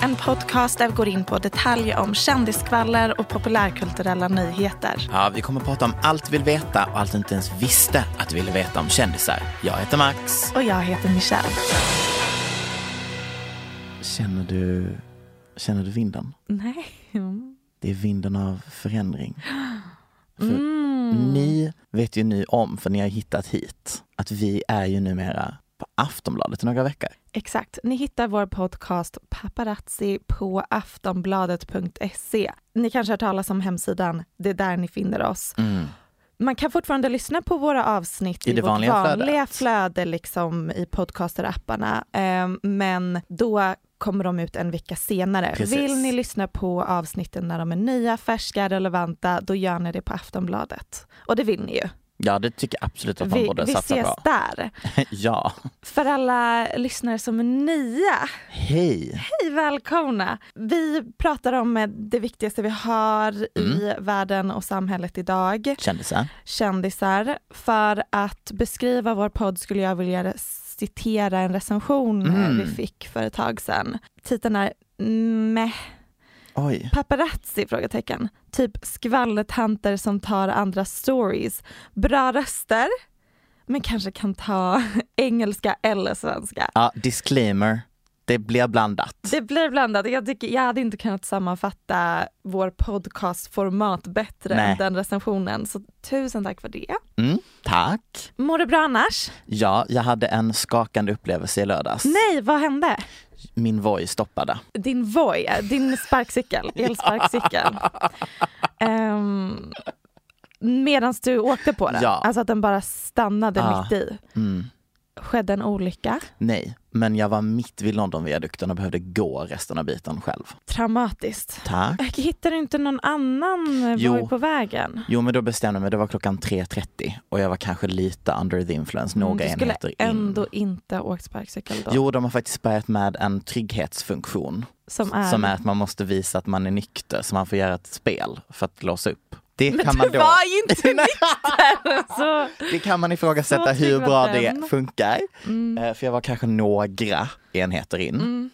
en podcast där vi går in på detaljer om kändiskvaller och populärkulturella nyheter. Ja, vi kommer att prata om allt vi vill veta och allt du inte ens visste att du ville veta om kändisar. Jag heter Max. Och jag heter Michelle. Känner du, känner du vinden? Nej. Det är vinden av förändring. För Mm. Ni vet ju nu om, för ni har hittat hit, att vi är ju numera på Aftonbladet i några veckor. Exakt. Ni hittar vår podcast Paparazzi på aftonbladet.se. Ni kanske har hört talas om hemsidan, det är där ni finner oss. Man kan fortfarande lyssna på våra avsnitt Mm. I det vårt vanliga flödet. vanliga flöde liksom, i podcasterapparna, eh, men då kommer de ut en vecka senare. Precis. Vill ni lyssna på avsnitten när de är nya, färska, relevanta, då gör ni det på Aftonbladet. Och det vill ni ju. Ja, det tycker jag absolut att man Vi, borde vi satsa ses på. där. ja. För alla lyssnare som är nya, Hej! Hej välkomna! Vi pratar om eh, det viktigaste vi har i världen och samhället idag, Kändisar. kändisar. För att beskriva vår podd skulle jag vilja citera en recension eh, Mm. vi fick för ett tag sedan. Titeln är "Mm, Meh Oj. paparazzi? Frågetecken. Typ skvallertanter som tar andra stories. Bra röster, men kanske kan ta engelska eller svenska. Ja, disclaimer. Det blir blandat. Det blir blandat. Jag, tycker, jag hade inte kunnat sammanfatta vår podcastformat bättre Nej. än den recensionen. Så tusen tack för det. Mm, tack. Mår du bra annars? Ja, jag hade en skakande upplevelse i lördags. Nej, vad hände? Min voice stoppade. Din Voi, din sparkcykel, elsparkcykel. um, Medan du åkte på den, Ja. alltså att den bara stannade Ja. mitt i. Mm. Skedde en olycka, Nej, men jag var mitt vid Londonviadukten och behövde gå resten av biten själv. traumatiskt. Tack. Hittar du inte någon annan Jo. Voi på vägen? Jo, men då bestämde jag mig. Det var klockan 3.30 och jag var kanske lite under the influence, några Mm, du skulle enheter in. ändå inte ha åkt sparkcykel då? Jo, de har faktiskt börjat med en trygghetsfunktion som är... som är att man måste visa att man är nykter så man får göra ett spel för att låsa upp. Det kan man Du då... var ju inte Nej. nykter! Så, Det kan man ifrågasätta Så trygg hur bra var den. det funkar. Mm. Eh, För jag var kanske några enheter in.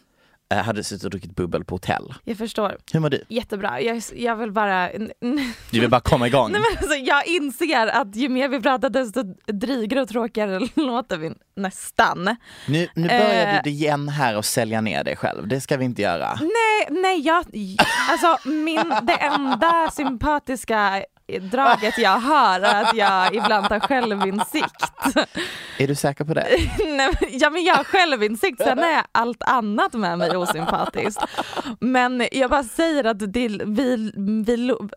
Eh, Hade suttit och druckit bubbel på hotell. jag förstår. Hur mår du? Jättebra. Jag, jag vill bara... n- n- Du vill bara komma igång. Nej, men alltså, jag inser att ju mer vi pratar desto drygare och tråkigare låter vi nästan. Nu, nu börjar Eh. du igen här och sälja ner dig själv. Det ska vi inte göra. Nej, nej jag, alltså min, det enda sympatiska eh, draget jag har är att jag ibland har självinsikt. Är du säker på det? Nej, men- ja, men jag har självinsikt, sen är allt annat med mig osympatiskt. Men jag bara säger att det, vi, vi, lo-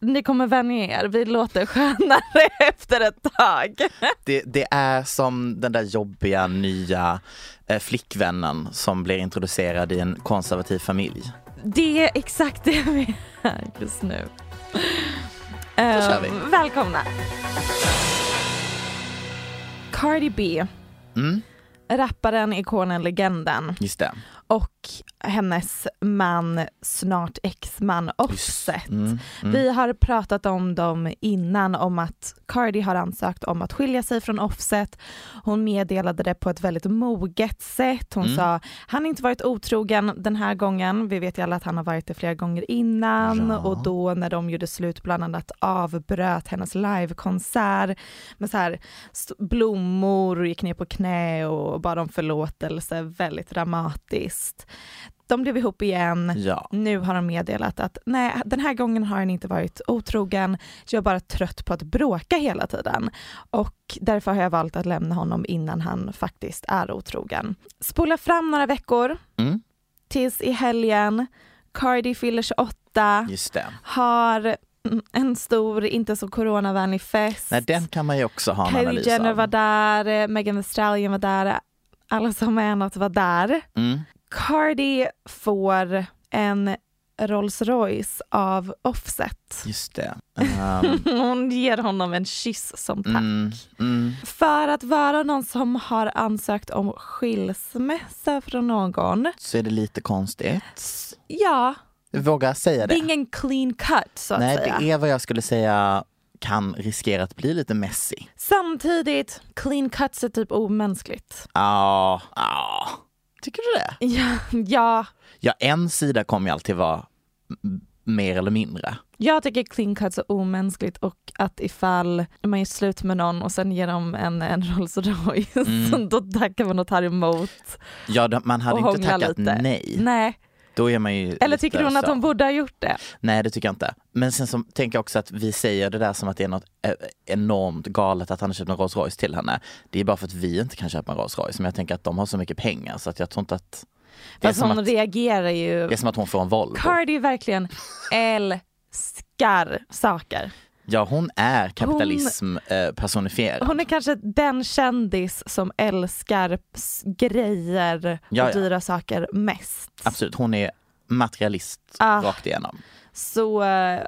ni kommer vänja er, vi låter skönare efter ett tag. det? Det är som den där jobbiga nya eh, flickvännen som blir introducerad i en konservativ familj. Det är exakt det vi är just nu. kör vi. Ehm, välkomna! Cardi B. rapparen, ikonen, legenden Mm, Just det. och hennes man, snart exman Offset. Mm. Vi har pratat om dem innan, om att Cardi har ansökt om att skilja sig från Offset. Hon meddelade det på ett väldigt moget sätt. Hon sa, han har inte varit otrogen den här gången. Vi vet ju alla att han har varit det flera gånger innan och då när de gjorde slut bland annat avbröt hennes livekonsert med så här st- blommor och gick ner på knä och bad om förlåtelse. Väldigt dramatiskt. De blev ihop igen. Ja. Nu har de meddelat att nej, den här gången har han inte varit otrogen. Jag är bara trött på att bråka hela tiden och därför har jag valt att lämna honom innan han faktiskt är otrogen. Spola fram några veckor Mm. tills i helgen. Cardi fyller 28, Just det. har mm, en stor, inte så coronavänlig fest. Nej, den kan man ju också ha en Kylie analys Jenner var av. där, eh, Megan Thee Stallion var där, alla som är något var där. Mm. Cardi får en Rolls Royce av Offset. Just det. Ehm, Hon ger honom en kyss som tack. mm, mm. För att vara någon som har ansökt om skilsmässa från någon, Så är det lite konstigt. ja, Våga säga det det. är ingen clean cut så att Nej, säga. det är vad jag skulle säga kan riskera att bli lite messy. Samtidigt, clean cuts är typ omänskligt. Ja, ja. Tycker du det? Ja, ja, Ja, en sida kommer ju alltid vara m- mer eller mindre. Jag tycker clean cuts är omänskligt och att ifall man är slut med någon och sen ger dem en, en Rolls Royce, då tackar man och tar emot Ja, de- man Mm. hade och inte hånglar tackat lite. nej. nej. Då är man ju Eller lite tycker hon att så. hon borde ha gjort det? Nej, det tycker jag inte. Men sen så tänker jag också att vi säger det där som att det är något eh, enormt galet att han har köpt en Rolls Royce till henne. Det är bara för att vi inte kan köpa en Rolls Royce. Men jag tänker att de har så mycket pengar så att jag tror inte att... Det är, Fast som hon att, det reagerar ju. är som att hon får en Volvo. Cardi verkligen älskar saker. Ja, hon är kapitalism eh, personifierad. Hon är kanske den kändis som älskar s- grejer och Ja, ja. dyra saker mest. Absolut, hon är materialist Ah. rakt igenom. Så eh,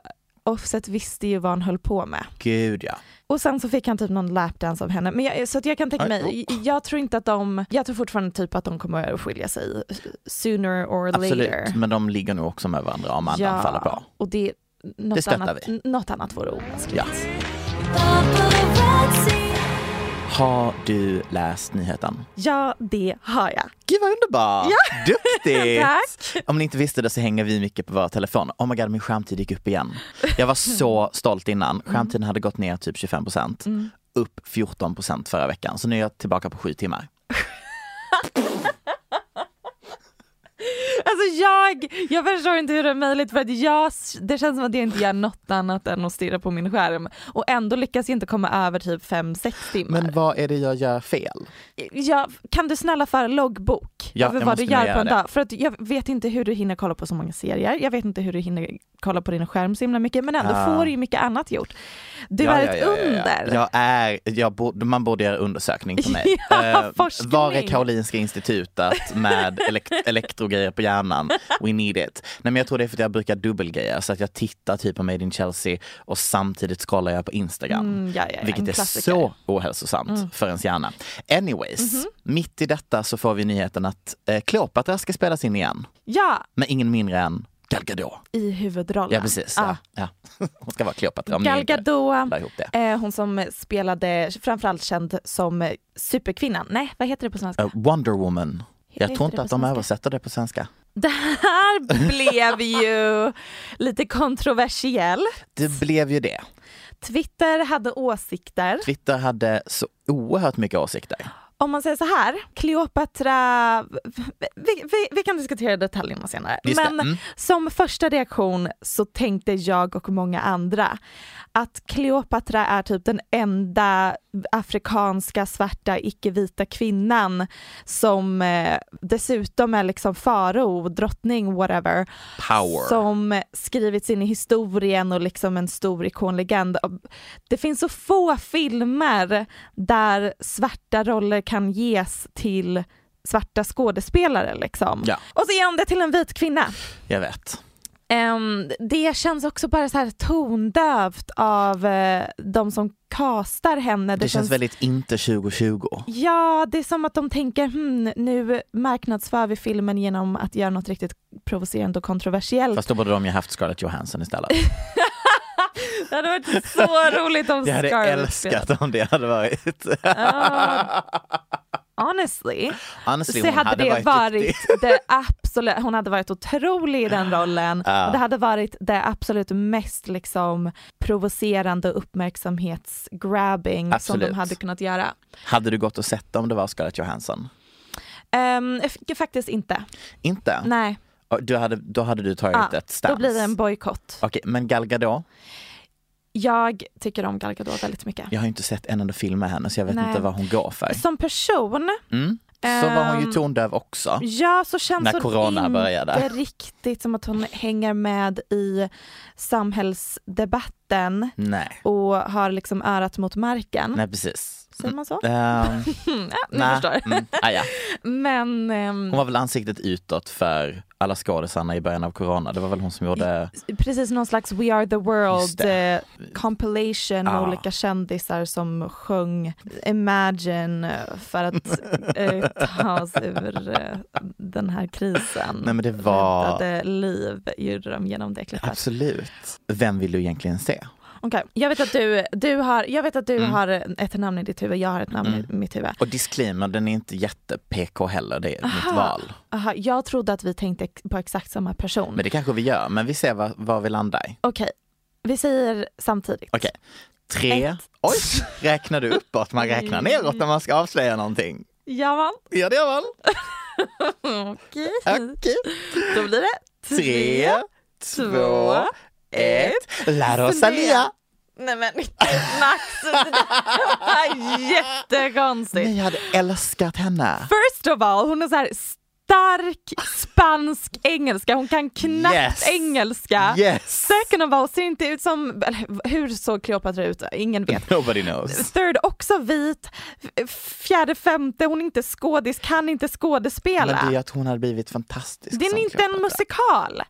Offset visste ju vad han höll på med. Gud ja. Och sen så fick han typ någon lapdance av henne. Men jag, så att jag kan tänka mig, oh. jag tror inte att de, jag tror fortfarande typ att de kommer att skilja sig sooner or Absolut, later. men de ligger nog också med varandra om andan faller på. Och det, något Det stöttar annat, vi. Något annat vore omänskligt. Ja. Har du läst nyheten? Ja, det har jag. Gud vad underbart! Ja. Duktigt! Tack. Om ni inte visste det så hänger vi mycket på våra telefoner. Oh my god, min skärmtid gick upp igen. Jag var så stolt innan. Skärmtiden hade gått ner typ 25 procent. Upp 14 procent förra veckan. Så nu är jag tillbaka på sju timmar. Alltså jag, jag förstår inte hur det är möjligt för att jag, det känns som att jag inte gör något annat än att stirra på min skärm. Och ändå lyckas jag inte komma över typ 5-6 timmar. Men vad är det jag gör fel? Ja, kan du snälla föra loggbok Ja, över jag vad du måste nog gör på göra en det. dag? För att jag vet inte hur du hinner kolla på så många serier. Jag vet inte hur du hinner kolla på din skärm så himla mycket. Men ändå Ja. får du ju mycket annat gjort. Du är ett under. Jag är, jag borde, man borde göra undersökning på mig. Ja, Eh, forskning. var är Karolinska institutet med elekt elektrogrejer på hjärnan? We need it. Nej, men jag tror det är för att jag brukar dubbelgreja så att jag tittar typ på Made in Chelsea och samtidigt scrollar jag på Instagram. Mm, ja, ja, ja, en Vilket är klassiker. Mm. så ohälsosamt för ens hjärna. Anyways, Mhm. mitt i detta så får vi nyheten att eh, Kleopatra ska spelas in igen. Ja, Men ingen mindre än Gal Gadot. i huvudrollen. Ah. Ja precis, ja. Ja. hon ska vara Kleopatra om ni Gal inte Gadot, la ihop det. eh, hon som spelade, framförallt känd som eh, superkvinnan. Nej, vad heter det på svenska? Eh, Wonder Woman. Jag Heter tror det inte att på de svenska? översätter det på svenska. Det här blev ju lite kontroversiell. Det blev ju det. Twitter hade åsikter. Twitter hade så oerhört mycket åsikter. om man säger så här, Kleopatra, vi, vi, vi kan diskutera detaljerna senare, Just det, men mm. som första reaktion så tänkte jag och många andra att Kleopatra är typ den enda afrikanska svarta icke-vita kvinnan som eh, dessutom är liksom farao, drottning, whatever, Power. som skrivits in i historien och liksom en stor ikonlegend. Det finns så få filmer där svarta roller kan ges till svarta skådespelare liksom. Ja. Och så ger hon det till en vit kvinna. Jag vet. Ehm, det känns också bara så här tondövt av eh, de som kastar henne. Det, känns väldigt inte 2020. Ja, det är som att de tänker hmm, nu marknadsför vi filmen genom att göra något riktigt provocerande och kontroversiellt. Fast då borde de ju haft Scarlett Johansson istället. Det hade varit så roligt om Jag hade Scarlett spelade. älskat om det hade varit. Ja. honestly. Honestly, så Alltså, hon hade, hade det varit, varit duktig. det absolut, hon hade varit otrolig i den rollen. Och det hade varit det absolut mest liksom provocerande och uppmärksamhetsgrabbing som de Absolut. hade kunnat göra. Hade du gått och sett om det var Scarlett Johansson? Ehm, f- faktiskt inte. Inte? Nej, Och Du hade, då hade du tagit Ja, ett stans? då blir det en bojkott. Okej, men Gal Gadot? Jag tycker om Gal Gadot väldigt mycket. Jag har ju inte sett en enda film med henne så jag vet Nej. inte vad hon går för. Som person, Mm. Så var hon ju Ehm, tondöv också. Ja, så känns När hon corona inte började. riktigt som att hon hänger med i samhällsdebatten Nej, och har liksom örat mot marken. nej precis. Säger man så? Hm, Ehm, ni nej. Mm. förstår. Mm. Ah, ja. Men ehm, Hon var väl ansiktet utåt för alla skådisarna i början av corona. Det var väl hon som gjorde... precis någon slags We Are The Just World det. eh, compilation med Ja. olika kändisar som sjöng Imagine eh, för att eh, ta oss ur eh, den här krisen. Nej, men det var- Räddade liv gjorde de genom det klippet. Absolut. Vem vill du egentligen se? Okej, Jag vet att du, du, har, jag vet att du Mm. har ett namn i ditt huvud, jag har ett namn i mitt huvud. Och disclaimer, den är inte jätte-PK heller, det är mitt val. Aha, jag trodde att vi tänkte ex- på exakt samma person. Men det kanske vi gör, men vi ser vad, vad vi landar i. Okej, vi säger samtidigt. Okej. Tre. Ett. Oj! Räknar du uppåt? Man räknar neråt när man ska avslöja någonting. Ja, Gör det väl? man. Okej, Okej. då blir det Tre, två, ett. La Rosalia! Nej men Max, det var jättekonstigt. Ni hade älskat henne. First of all, hon är så här stark spansk engelska, hon kan knappt Yes. engelska. Yes! Second of all, ser inte ut som, eller hur såg Cleopatra ut? Ingen vet. Nobody knows. Third, också vit. F- Fjärde, femte, hon är inte skådis, kan inte skådespela. Men det är att hon hade blivit fantastisk Det är som inte en Cleopatra. musikal.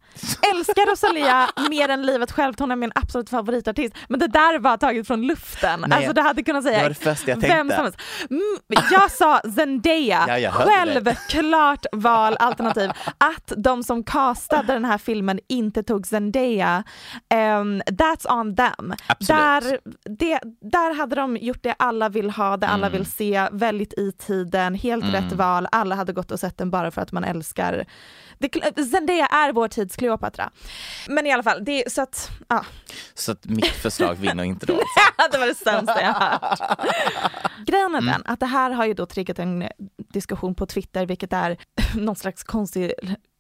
Älskar Rosalia mer än livet självt, hon är min absolut favoritartist. Men det där var taget från luften. Nej, alltså det hade kunnat säga det var det första jag vem tänkte. som helst. Mm, jag sa Zendaya, Ja, jag hörde självklart val alternativ. Att de som castade den här filmen inte tog Zendaya, ehm, that's on them. Absolut. Där, det, där hade de gjort det alla vill ha, det alla vill se, väldigt i tiden, helt rätt val, alla hade gått och sett den bara för att man älskar det, Zendaya är vår tids Cleopatra. Men i alla fall, det är så att, ja. Så att mitt förslag vinner inte då. det var det sämsta jag hört. Grejen Mm. är den att det här har ju då triggat en eh, diskussion på Twitter vilket är någon slags konstig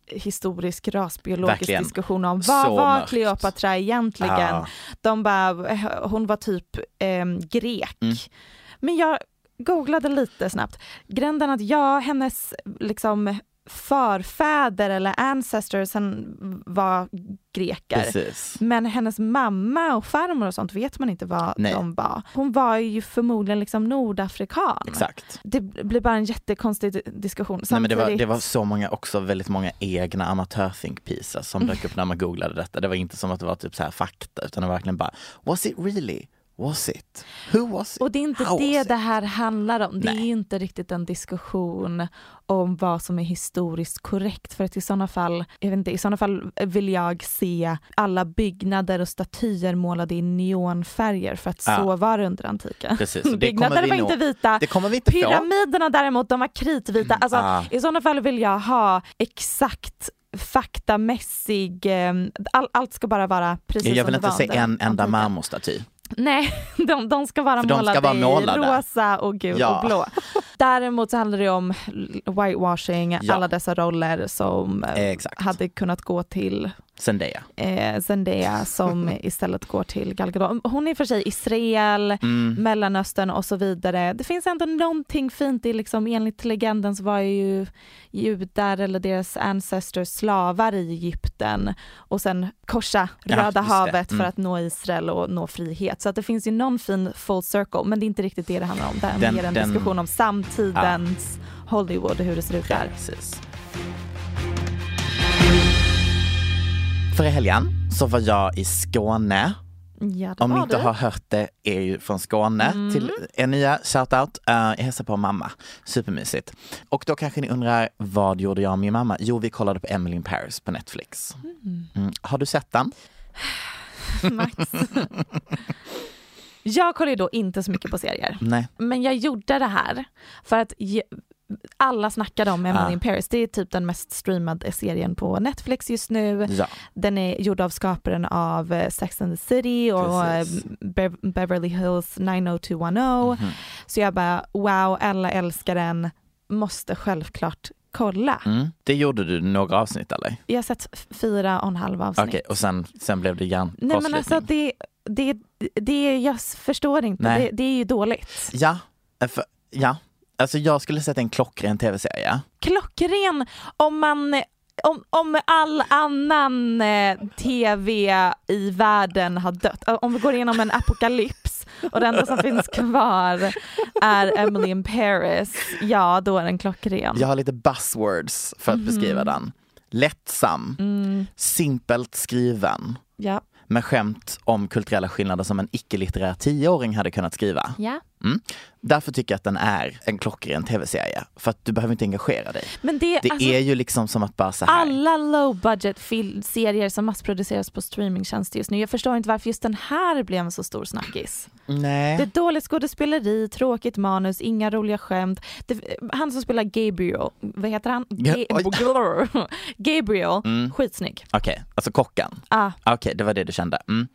historisk rasbiologisk Verkligen. diskussion om vad Så var mörkt. Ah. Kleopatra egentligen? Ja. De bara, eh, hon var typ ehm, grek. Mm. Men jag googlade lite snabbt. Grejen är att jag, hennes liksom förfäder eller ancestors han var greker. Precis. Men hennes mamma och farmor och sånt vet man inte vad Nej. de var. Hon var ju förmodligen liksom nordafrikan. Exakt. Det blir bara en jättekonstig di- diskussion. Nej, men det, var, Samtidigt- det var så många, också väldigt många egna amatör-think pieces som dök upp när man googlade detta. Det var inte som att det var typ så här fakta utan det var verkligen bara was it really? Was it? Who was it? Och det är inte How det was it? det här handlar om. Det är Nej. ju inte riktigt en diskussion om vad som är historiskt korrekt. För att i sådana fall, jag vet inte, i sådana fall vill jag se alla byggnader och statyer målade i neonfärger för att så Ja. var det under antiken. Precis, och det byggnader kommer vi var nog- inte vita, det kommer vi inte få. pyramiderna däremot de var kritvita. Alltså, Ah. I sådana fall vill jag ha exakt faktamässig, eh, all, allt ska bara vara precis Jag, jag vill som det var inte se under en enda antiken. marmorstaty. Nej, de, de ska vara För de ska målade vara målade. i rosa och gul Ja. och blå. Däremot så handlar det om whitewashing, Ja. alla dessa roller som eh, Exakt. hade kunnat gå till Zendaya. eh, Zendaya som istället går till Gal Gadot. Hon är i och för sig Israel, Mm. Mellanöstern och så vidare. Det finns ändå någonting fint i liksom, enligt legenden så var ju judar eller deras ancestors slavar i Egypten och sen korsa Ja, Röda just det. havet för Mm. att nå Israel och nå frihet. Så att det finns ju någon fin full circle men det är inte riktigt det det handlar om. Det är Den- mer en den- diskussion om samtidens Hollywood och hur det ser ut där. Precis. Förra helgen så var jag i Skåne. Ja, det Om ni var inte du. Mm. har hört det är ju från Skåne till er nya shoutout. Uh, jag hälsar på mamma. Supermysigt. Och då kanske ni undrar, vad gjorde jag med min mamma? Jo, vi kollade på Emily in Paris på Netflix. Mm. Har du sett den? Max. jag kollar ju då inte så mycket på serier. Nej. Men jag gjorde det här för att je- alla snackade om Emily Ah. in Paris. Det är typ den mest streamade serien på Netflix just nu. Ja. Den är gjord av skaparen av eh, Sex and the City och eh, Precis. Mhm. Be- Beverly Hills 90210. Så jag bara wow, alla älskar den, måste självklart kolla. Mm. Det gjorde du några avsnitt eller? Jag har sett f- fyra och en halv avsnitt. Okej, och sen, sen blev det Nej hjärnkorsning. men alltså det, det, det, jag förstår inte, Nej. det, det är ju dåligt. Ja, eh, för, ja. Alltså jag skulle sätta en klockren tv-serie. Mm. Klockren om man om, om all annan eh, tv i världen har dött, Ö, om vi går igenom en apokalyps och det enda som finns kvar är Emily in Paris, ja då är den klockren. Jag har lite buzzwords för Mhm. att beskriva den. Lättsam, Mm. simpelt skriven, Ja. med skämt om kulturella skillnader som en icke-litterär tioåring hade kunnat skriva. ja. Mm. Därför tycker jag att den är en klockren tv-serie. För att du behöver inte engagera dig. Men det, Det alltså, är ju liksom som att bara så här. alla low budget fil- serier som massproduceras på streamingtjänster just nu, jag förstår inte varför just den här blev en så stor snackis. Nej. Det är dåligt skådespeleri, tråkigt manus, inga roliga skämt. Det, han som spelar Gabriel, vad heter han? Ja, Ga- oj. Mm. Blr. Gabriel, skitsnygg. Okej, alltså kocken. Ah, Okej, det var det du kände. Mm.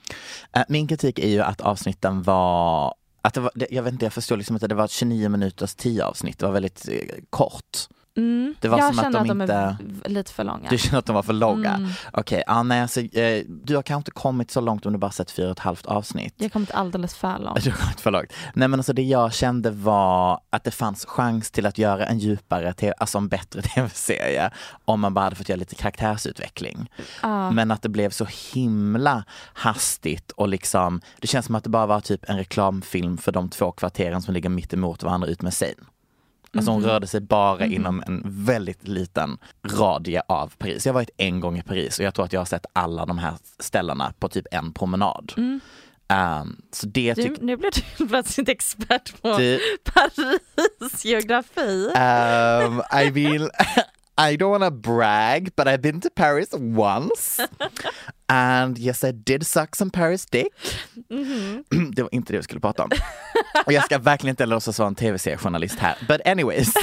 Eh, Min kritik är ju att avsnitten var, att det var det, jag vet inte, jag förstår liksom inte, det var 29 minuters 10 avsnitt, det var väldigt eh, kort. mm. Det var Jag som att känner de är inte- v- v- lite för långa. Du känner att de var för låga? Okej, ja, nej, alltså, eh, du har kanske inte kommit så långt om du bara sett fyra och ett halvt avsnitt. Jag har kommit alldeles för långt. Du har kommit för långt. Nej men alltså det jag kände var att det fanns chans till att göra en djupare, te- alltså en bättre tv-serie om man bara hade fått göra lite karaktärsutveckling. Men att det blev så himla hastigt och liksom, det känns som att det bara var typ en reklamfilm för de två kvarteren som ligger mitt emot varandra ut med sin. Alltså hon rörde sig bara inom en väldigt liten radie av Paris. Jag har varit en gång i Paris och jag tror att jag har sett alla de här ställena på typ en promenad. Ehm, så det Du, tycker nu blev du plötsligt expert på Du- Paris geografi. um, I will. I don't want to brag, but I've been to Paris once. And yes, I did suck some Paris dick. det var inte det vi skulle prata om. Och jag ska verkligen inte låtsas vara en tv-seriejournalist här. But anyways,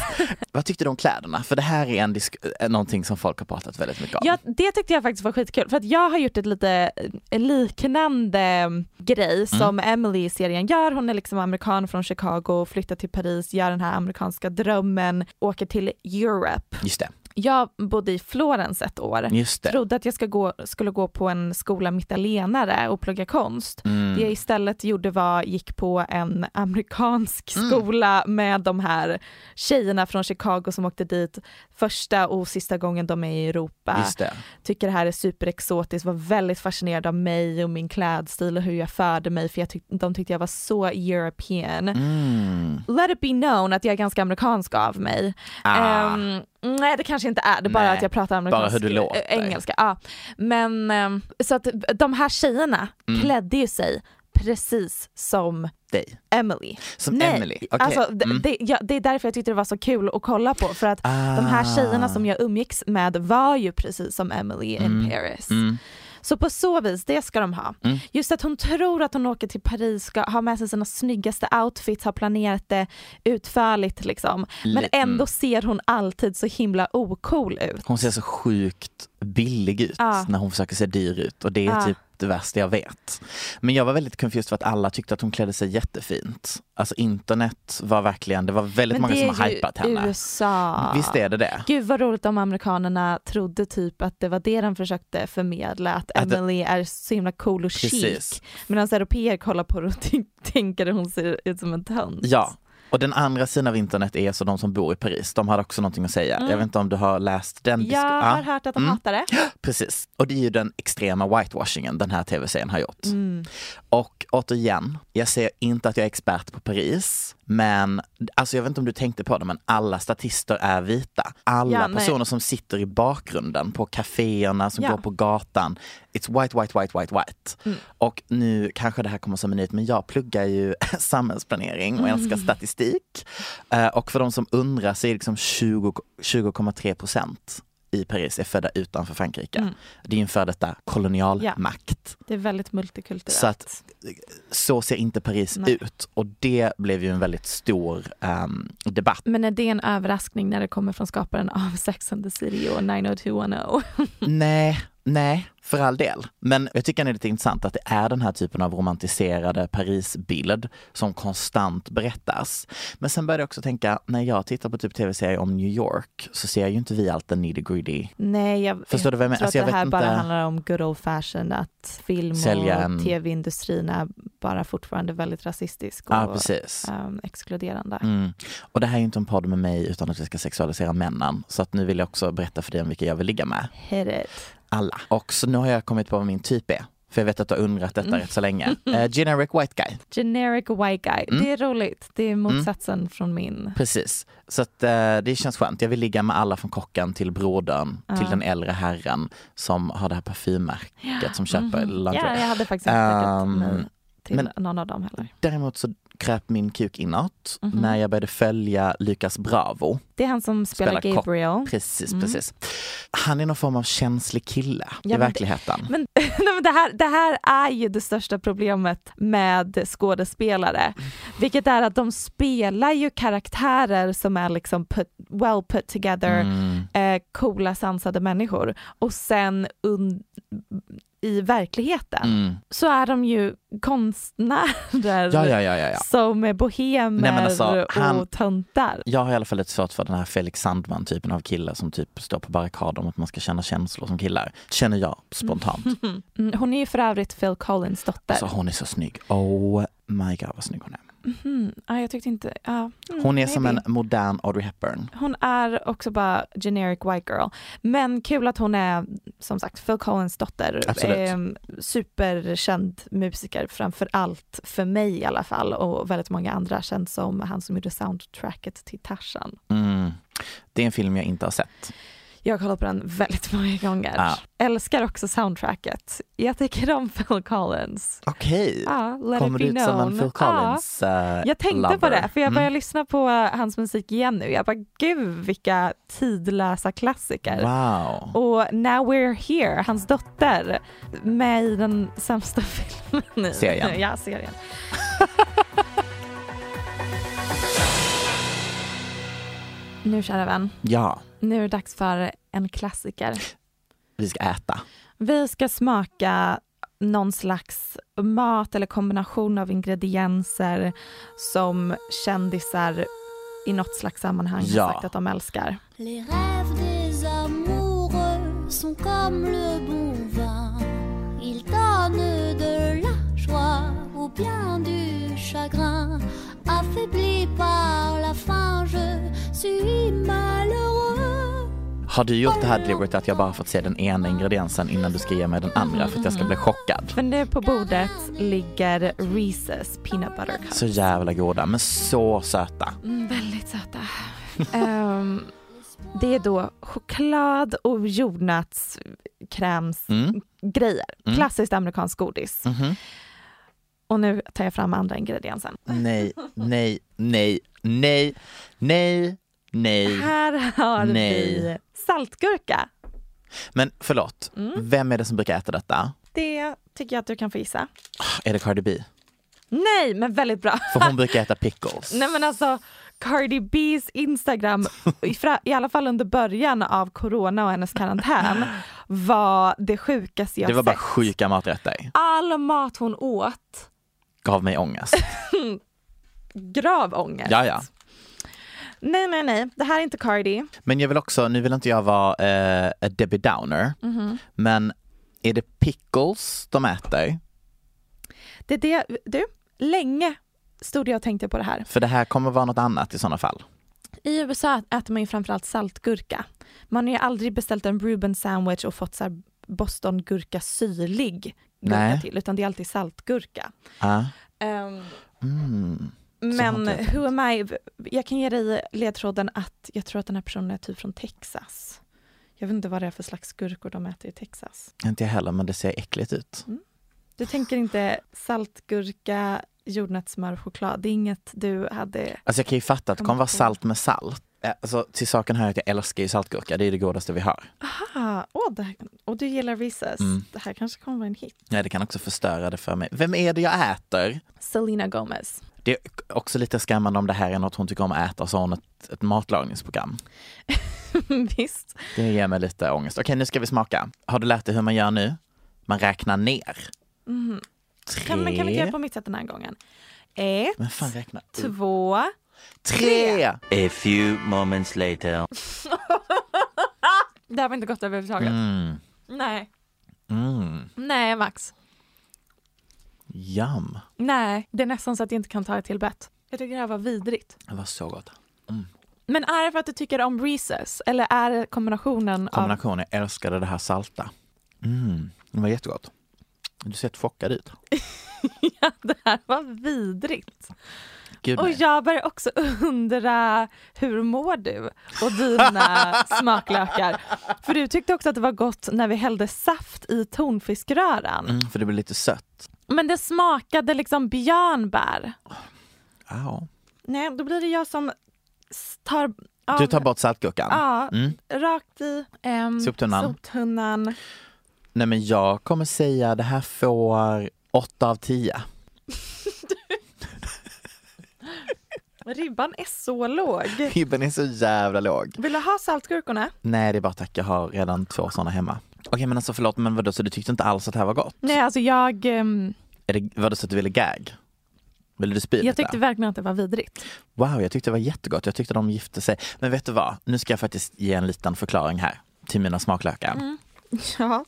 vad tyckte du om kläderna? För det här är en disk- eh, någonting som folk har pratat väldigt mycket om. Ja, det tyckte jag faktiskt var skitkul för att jag har gjort ett lite eh, liknande Mm. grej som Emily i serien gör. Hon är liksom amerikan från Chicago, flyttar till Paris, gör den här amerikanska drömmen, åker till Europe. Just det, Jag bodde i Florens ett år. just det. Trodde att jag ska gå, skulle gå på en skola mittellenare och plugga konst. Mm. Det jag istället gjorde var gick på en amerikansk Mm. skola med de här tjejerna från Chicago som åkte dit första och sista gången de är i Europa Just det. tycker det här är superexotiskt, var väldigt fascinerad av mig och min klädstil och hur jag förde mig för jag tyck- de tyckte jag var så european. Mm. Let it be known att jag är ganska amerikansk av mig. Ah. Ehm, nej det kanske inte är, det är bara Nej, att jag pratar amerikansk, bara hur du eh, låter. engelska. Ja. Men ehm, så att de här tjejerna Mm. klädde ju sig precis som Dig. Emily. Som Nej, Emily? Okej. Alltså, d- Mm. det, ja, det är därför jag tyckte det var så kul att kolla på för att de här Ah. tjejerna som jag umgicks med var ju precis som Emily in Mm. Paris. Så på så vis, det ska de ha. Just att hon tror att hon åker till Paris, ska ha med sig sina snyggaste outfits, har planerat det utförligt liksom. Men Li- ändå ser hon alltid så himla ocool ut. Hon ser så sjukt billig ut Ja. när hon försöker se dyr ut och det är Ja. typ det värsta jag vet. Men jag var väldigt confused för att alla tyckte att hon klädde sig jättefint. Alltså internet var verkligen, det var väldigt Men många det som har är ju hypat henne. USA. Visst är det det? Gud vad roligt om amerikanerna trodde typ att det var det de försökte förmedla, att, Att det- Emily är så himla cool och Precis. chic. Medan europeer kollar på det och tyn- tänker att hon ser ut som en tönt. Ja. Och den andra sidan av internet är så de som bor i Paris, de har också någonting att säga. Jag vet inte om du har läst den? disk- Mm. Jag Ja. Mm. har hört att de hatar det. Precis, och det är ju den extrema whitewashingen den här Mm. tv-serien har gjort. Och återigen, jag säger inte att jag är expert på Paris, Men alltså jag vet inte om du tänkte på det, men alla statister är vita. Alla Ja, nej. personer som sitter i bakgrunden på kaféerna, som Ja. Mm. går på gatan. It's white, white, white, white, white. Och nu kanske det här kommer som en nyhet, men jag pluggar ju samhällsplanering och älskar Mm. statistik. Eh, Och för de som undrar så är liksom 20 20,3 procent i Paris är födda utanför Frankrike. Mm. Det är ju en före detta kolonialmakt. Det är väldigt multikulturellt. Så att- Så ser inte Paris Nej. ut och det blev ju en väldigt stor ehm, debatt. Men är det en överraskning när det kommer från skaparen av Sex and the City och 90210? Mm. Nej, nej, för all del. Men jag tycker det är lite intressant att det är den här typen av romantiserade Parisbild som konstant berättas. Men sen började jag också tänka, när jag tittar på typ tv-serier om New York så ser ju inte vi allt den nitty gritty. Nej, jag, Förstår du vad jag menar? tror Alltså, jag att det vet här bara inte. handlar om good old fashion, att film Sälja och en- tv-industrin är bara fortfarande väldigt rasistisk och Ja, precis. ehm, exkluderande. Mm. Och det här är ju inte en podd med mig utan att vi ska sexualisera männen. Så att nu vill jag också berätta för dig om vilka jag vill ligga med. Hit it. Alla. Och så nu har jag kommit på vad min typ är. För jag vet att du har undrat detta rätt så länge. Eh, generic white guy. Generic white guy. Mm. Det är roligt. Det är motsatsen från min. Precis. Så att, eh, det känns skönt. Jag vill ligga med alla från kocken till brodern, till den äldre herren som har det här parfymmärket som köper Mm-hmm. Ja, lingerie. jag hade faktiskt inte tackat Ehm, mig till men- någon av dem heller. Däremot så kröp min kuk inåt Mhm. när jag började följa Lucas Bravo. Det är han som spelar, Spelar kock. Gabriel. Precis, precis. Han är någon form av känslig kille i Mm. men det- verkligheten. Men, nej, men det, här, det här är ju det största problemet med skådespelare, vilket är att de spelar ju karaktärer som är liksom put, well put together, Mm. eh, coola sansade människor och sen un, i verkligheten Mm. så är de ju konstnärer Ja, ja, ja, ja, ja. som är bohemer Nej, men alltså, han- och töntar. Jag har i alla fall lite svårt för den här Felix Sandman typen av killar som typ står på barrikader om att man ska känna känslor som killar. Känner jag spontant. Mm, Hon är ju för övrigt Phil Collins dotter. Alltså hon är så snygg. Oh my god vad snygg hon är. Mhm. Ja, jag tyckte inte... ja. Mm, Hon är som maybe. en modern Audrey Hepburn. Hon är också bara generic white girl. Men kul att hon är, som sagt, Phil Collins dotter. Absolut. Ehm, superkänd musiker, framför allt för mig i alla fall. Och väldigt många andra känns som han som gjorde soundtracket till Tarzan. Mm. Det är en film jag inte har sett. Jag har kollat på den väldigt många gånger. Ja. Älskar också soundtracket. Jag tycker om Phil Collins. Okej, Ja, let kommer it du be ut known. som en Phil Ja. Collins eh, Jag tänkte lover? på det, för jag började Mm. lyssna på eh, hans musik igen nu. Jag bara, gud vilka tidlösa klassiker. Wow. Och Now We're Here, hans dotter, med i den sämsta filmen. i- Serien. Ja, serien. nu kära vän, Ja, nu är det dags för en klassiker. vi ska äta. Vi ska smaka någon slags mat eller kombination av ingredienser som kändisar i något slags sammanhang Ja. har sagt att de älskar. Les rêves des amoureux sont comme le bon vin. Ils donnent de la joie ou bien du chagrin. Affaibli par la faim, je suis malheureux. Har du gjort det här deliberate att jag bara fått se den ena ingrediensen innan du ska ge mig den andra för att jag ska bli chockad? För nu på bordet ligger Reese's peanut butter cups. Så jävla goda, men så söta. Mm, väldigt söta. Ehm, det är då choklad och jordnötskrämsgrejer. Mm. Mm. Klassiskt amerikanskt godis. Mhm. Och nu tar jag fram andra ingrediensen. Nej, nej, nej, nej, nej, nej. Här har vi Nej. saltgurka. Men förlåt, Mm. vem är det som brukar äta detta? Det tycker jag att du kan få gissa. Är det Cardi B? Nej, men väldigt bra. För hon brukar äta pickles. Nej men alltså Cardi B's Instagram, i, fra, i alla fall under början av corona och hennes karantän, var det sjukaste jag det var bara sett. sjuka maträtter. All mat hon åt Gav mig ångest. grav ångest. Ja, ja. Nej, nej, nej. Det här är inte Cardi. Men jag vill också, nu vill inte jag vara eh, a Debbie Downer, men är det pickles de äter? Det är det, du, länge stod jag och tänkte på det här. För det här kommer vara något annat i sådana fall. I USA äter man ju framförallt saltgurka. Man har ju aldrig beställt en Reuben sandwich och fått så här bostongurka syrlig gurka Nej. till, utan det är alltid saltgurka. Ja. Ehm, Ah, Mm. Men har inte jag who am I? Jag kan ge dig ledtråden att jag tror att den här personen är typ från Texas. Jag vet inte vad det är för slags skurkor de äter i Texas. Inte jag heller, men det ser äckligt ut. Du tänker inte saltgurka, jordnötssmör, choklad. Det är inget du hade. Alltså jag kan ju fatta att det Kommer kommer vara på. salt med salt. Eh, Alltså, till saken här är att jag älskar ju saltgurka, det är det godaste vi har. Aha, åh, det här, och du gillar Reeses. Ah. Mm. Det här kanske kommer vara en hit. Nej, det kan också förstöra det för mig. Vem är det jag äter? Selena Gomez. Det är också lite skrämmande om det här är något hon tycker om att äta och så har hon ett, ett matlagningsprogram. Visst. Det ger mig lite ångest. Okej, nu ska vi smaka. Har du lärt dig hur man gör nu? Man räknar ner. Mhm. Tre. Kan, men kan vi inte göra på mitt sätt den här gången? Ett, Men fan räkna. upp. två. Tre! A few moments later. Det här var inte gott överhuvudtaget. Mm. Nej. Mm. Nej, Max. Yum. Nej, det är nästan så att jag inte kan ta det till bett. Jag tycker det här var vidrigt. Det var så gott. Men är det för att du tycker om Reeses eller är det kombinationen av... Kombinationen, jag älskade det här salta. Mm. Det var jättegott. Du ser helt chockad ut. Ja, det här var vidrigt. Gud Och nej. jag börjar också undra, hur mår du och dina smaklökar? För du tyckte också att det var gott när vi hällde saft i tonfiskröran. Mm, för det blir lite sött. Men det smakade liksom björnbär. Ja. Nej, då blir det jag som s- tar... av- Du tar bort saltgurkan? Ja, Mm. rakt i ehm, Soptunnan. soptunnan. Nej men jag kommer säga det här får 8 av 10. Ribban är så låg. Ribban är så jävla låg. Vill du ha saltgurkorna? Nej det är bara tack, jag har redan två sådana hemma. Okej men alltså förlåt men vadå så du tyckte inte alls att det här var gott? Nej, alltså jag, ehm, Är det, vadå så att du ville gag? Ville du spy jag lite? tyckte verkligen att det var vidrigt. Wow jag tyckte det var jättegott, jag tyckte de gifte sig. Men vet du vad, nu ska jag faktiskt ge en liten förklaring här till mina smaklökar. Ja,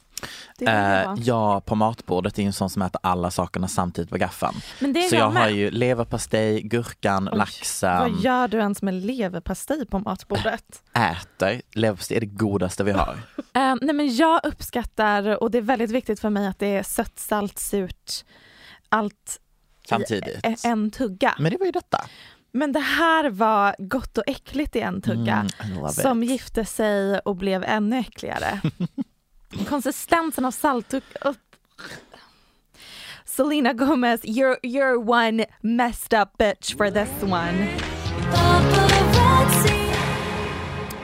Mm, det Eh, jag på matbordet är ju en sån som äter alla sakerna samtidigt på gaffeln. Men det är Så jag har med. ju ehm, leverpastej, gurkan, Oj, laxen, Vad gör du ens med leverpastej på matbordet? äter. Leverpastej är det godaste vi har. Eh, nej men jag uppskattar, och det är väldigt viktigt för mig att det är sött, salt, surt, allt Samtidigt. i en tugga. Men det var ju detta. Men det här var gott och äckligt i en tugga. Mm, I love som it. gifte sig och blev ännu äckligare. Konsistensen av salt och... och- Selena Gomez, you're, you're one messed up bitch for this one.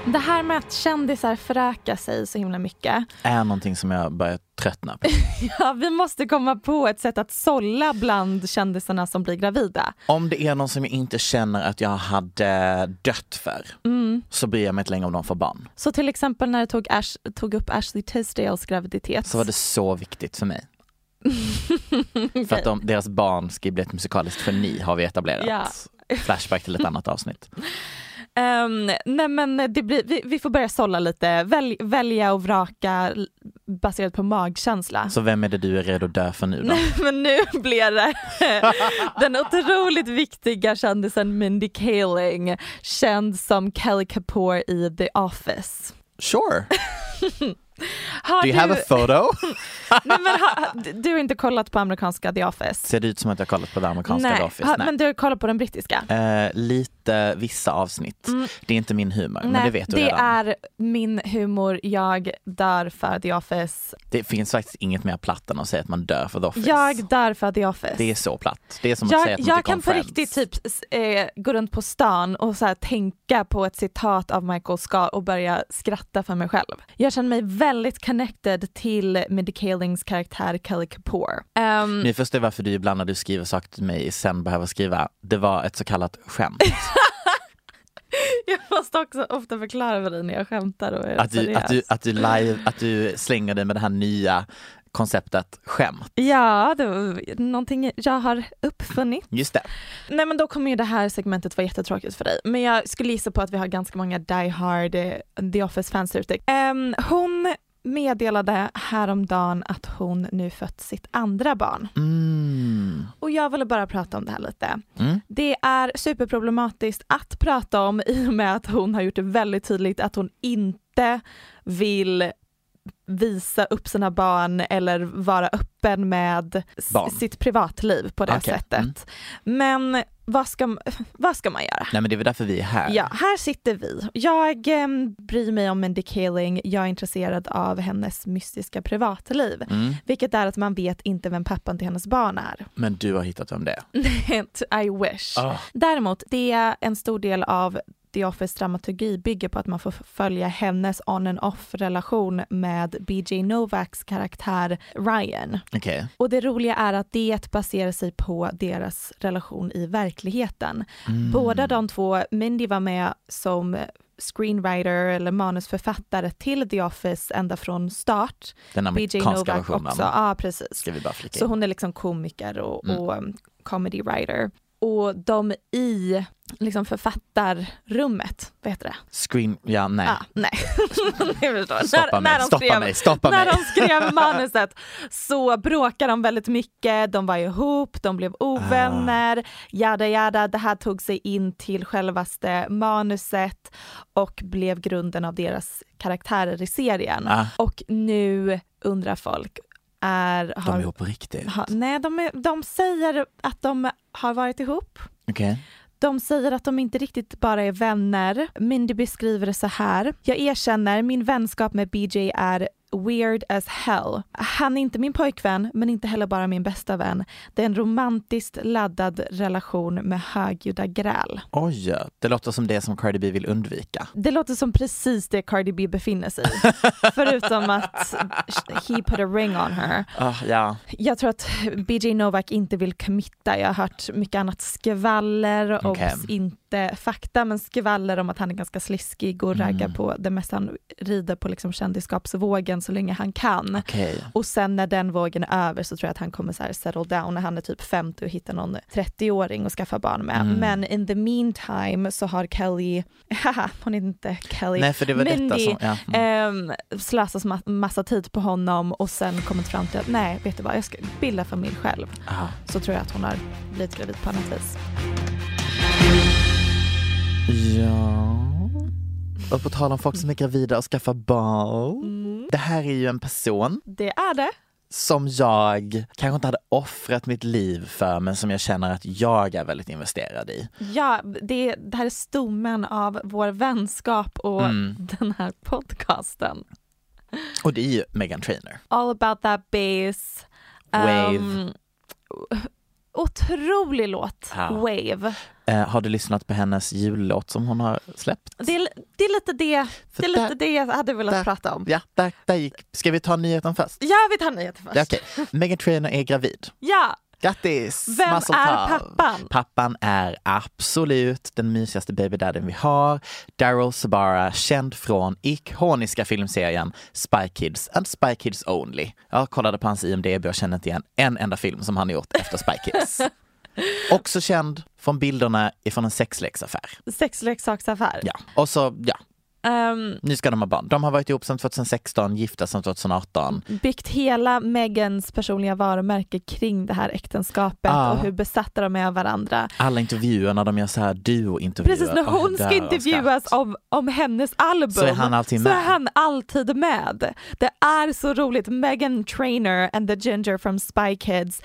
Det här med att kändisar förökar sig så himla mycket. är någonting som jag börjar tröttna på. Ja, vi måste komma på ett sätt att sålla bland kändisarna som blir gravida. Om det är någon som jag inte känner att jag hade dött för så bryr jag mig inte längre om de får barn. Så till exempel när jag tog, Ash, tog upp Ashley Tisdales graviditet. Så var det så viktigt för mig. För att de, deras barn ska ju bli ett musikaliskt geni har vi etablerat. Flashback till ett annat avsnitt. Ehm, nej men det blir, vi, vi får börja sålla lite, Välj, välja och vraka l- baserat på magkänsla. Så vem är det du är redo att dö för nu då? Nej men nu blir det den otroligt viktiga kändisen Mindy Kaling, känd som Kelly Kapoor i The Office. Sure, Har do you have a photo? nej, men har, du har inte kollat på amerikanska The Office? Ser det ut som att jag kollat på det amerikanska The Office? Ha- Nej. men du har kollat på den brittiska? Eh, lite vissa avsnitt. Det är inte min humor, men det vet du Mm. det redan. är min humor, jag dör för The Office. Det finns faktiskt inget mer platt än att säga att man dör för The Office. Jag dör för The Office. Det är så platt. Det är som att säga Jag, att man jag tycker kan om på Friends. riktigt typ s- eh, gå runt på stan och så här tänka på ett citat av Michael Ska och börja skratta för mig själv. Jag känner mig väldigt connected till Mindy Kalings karaktär Kelly Kapoor. Ehm, Ni förstår varför du ibland när du skriver saker till mig sen behöver skriva det var ett så kallat skämt. jag måste också ofta förklara för dig när jag skämtar och Alltså, är Att du, seriös. att du, att du, live, att du slänger dig med det här nya konceptet skämt. Ja, det var någonting jag har uppfunnit. Just det. Nej men då kommer ju det här segmentet vara jättetråkigt för dig. Men jag skulle gissa på att vi har ganska många Die Hard eh, The Office-fans ute. Ehm, hon meddelade häromdagen att hon nu fött sitt andra barn. Mm. Och jag ville bara prata om det här lite. Mm. Det är superproblematiskt att prata om i och med att hon har gjort det väldigt tydligt att hon inte vill visa upp sina barn eller vara öppen med s- Barn. sitt privatliv på det Okej, Mm. sättet. Men vad ska, vad ska man göra? Nej men det är väl därför vi är här. Ja, här sitter vi. Jag eh, bryr mig om Mindy Kaling, jag är intresserad av hennes mystiska privatliv. Mm. Vilket är att man vet inte vem pappan till hennes barn är. Men du har hittat vem det är. I wish. Ah. Däremot, det är en stor del av The Office dramaturgi bygger på att man får följa hennes on and off relation med BJ Novaks karaktär Ryan. Okej. Och det roliga är att det baserar sig på deras relation i verkligheten. Mm. Båda de två, Mindy var med som screenwriter eller manusförfattare till The Office ända från start. Den BJ amerikanska Novak versionen. också, ja precis. Ska vi bara flika Så in. hon är liksom komiker och, Mm. och um, comedy writer. Och de i liksom författarrummet, vad heter det? Screen, ja nej. Ah, nej, ni förstår. Stoppa mig, de stoppa skrev, mig, stoppa när mig. de skrev manuset så bråkade de väldigt mycket, de var ihop, de blev Ah. ovänner, jada jada, det här tog sig in till självaste manuset och blev grunden av deras karaktärer i serien. Ah. Och nu undrar folk, är, De är har, ihop på riktigt. ha, nej, de, är, de säger att de har varit ihop. Okej. De säger att de inte riktigt bara är vänner. Mindy beskriver det så här. Jag erkänner, min vänskap med BJ är weird as hell. Han är inte min pojkvän, men inte heller bara min bästa vän. Det är en romantiskt laddad relation med högljudda gräl. Oj, det låter som det som Cardi B vill undvika. Det låter som precis det Cardi B befinner sig i. Förutom att he put a ring on her. Ah, ja. Jag tror att BJ Novak inte vill committa. Jag har hört mycket annat skvaller, och Okej. inte fakta, men skvaller om att han är ganska sliskig och Mm. raggar på det mesta. Han rider på liksom kändisskapsvågen så länge han kan. Okej. Och sen när den vågen är över så tror jag att han kommer så här settle down när han är typ 50 och hittar någon 30-åring och skaffa barn med. Mm. Men in the meantime så har Kelly, haha hon är inte Kelly, Nej, för det var detta Mindy, som- ja, mm. ehm, slösat ma- massa tid på honom och sen kommit fram till att nej vet du vad jag ska bilda familj själv. Ah. Så tror jag att hon har blivit gravid på annat vis. Ja. Och på tal om folk som är gravida och skaffar barn. Det här är ju en person Det är det. som jag kanske inte hade offrat mitt liv för men som jag känner att jag är väldigt investerad i. Ja, det, det här är stommen av vår vänskap och Mm. den här podcasten. Och det är ju Megan Trainor. All about that bass. Wave. Ehm, otrolig låt, Ja. Wave. Eh, har du lyssnat på hennes jullåt som hon har släppt? Det är, det är lite det, För det, är där- lite det jag hade velat där- prata om. Ja, där, där gick. Ska vi ta nyheten först? Ja, vi tar nyheter först. Ja, Okej, Megan Trainor är gravid. Ja, Grattis! Vem Mazel är tov. pappan? Pappan är absolut den mysigaste babydadden vi har. Daryl Sabara, känd från ikoniska filmserien Spy Kids and Spy Kids Only. Jag kollade på hans IMDB och kände inte igen en enda film som han har gjort efter Spy Kids. Också känd från bilderna ifrån en sexleksaffär. sexleksaksaffär. Ja, och så, ja, Ehm, nu ska de ha barn. De har varit ihop sedan 2016, gifta sedan 2018. byggt hela Megans personliga varumärke kring det här äktenskapet Ja. och hur besatta de är av varandra. Alla intervjuer när de gör så här duo-intervjuer. Precis när Åh, hon dör ska av intervjuas skratt. om, om hennes album Så är han alltid så med. är han alltid med. Det är så roligt. Megan Trainor and the Ginger from Spy Kids,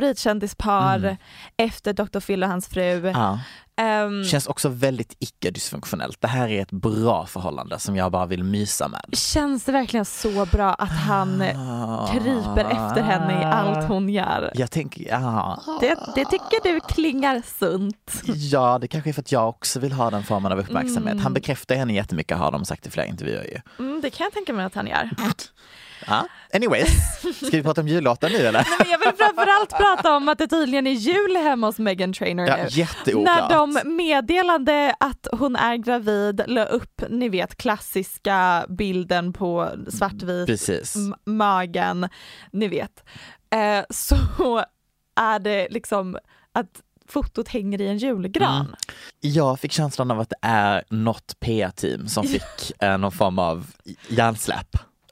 favoritkändispar efter Dr. Phil och hans fru. Mm. Ja. Ehm, Känns också väldigt icke-dysfunktionellt. Det här är ett bra förhållande som jag bara vill mysa med. känns det verkligen så bra att han Ah. kryper efter henne i allt hon gör? Jag tänker, ja, Det, det tycker du klingar sunt. ja, det kanske är för att jag också vill ha den formen av uppmärksamhet. Han bekräftar henne jättemycket har de sagt i flera intervjuer ju. Mm, det kan jag tänka mig att han gör. Mm. Ja. Anyways, ska vi prata om jullåten nu eller? Men jag vill framförallt prata om att det tydligen är jul hemma hos Meghan Trainor Ja, nu. jätteoklart. När de meddelade att hon är gravid la upp, ni vet klassiska bilden på svartvit Precis. m- magen, ni vet. Eh, så är det liksom att fotot hänger i en julgran. Mm. Jag fick känslan av att det är något PR-team som fick eh, någon form av hjärnsläpp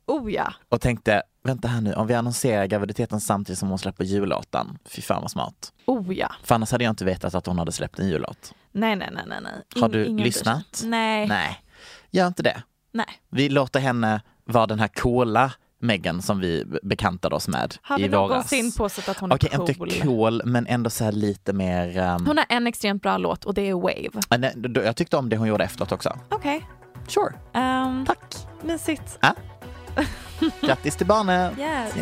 Oh ja. och tänkte, vänta här nu, om vi annonserar graviditeten samtidigt som hon släpper jullåten, fy fan vad smart. Oh ja. För annars hade jag inte vetat att hon hade släppt en jullåt. Nej, nej, nej, nej. nej. Har du ingen bryr sig. lyssnat? Nej. Nej, gör inte det. nej. Vi låter henne var den här coola Megan som vi b- bekantade oss med Har i vi våras. någonsin påstått att hon Okej, är cool? inte cool men ändå så här lite mer... ehm, Hon har en extremt bra låt och det är Wave. Ja, nej, då- Jag tyckte om det hon gjorde efteråt också. Okej. Sure. ehm, Tack. Mysigt. Grattis till barnet! Yes.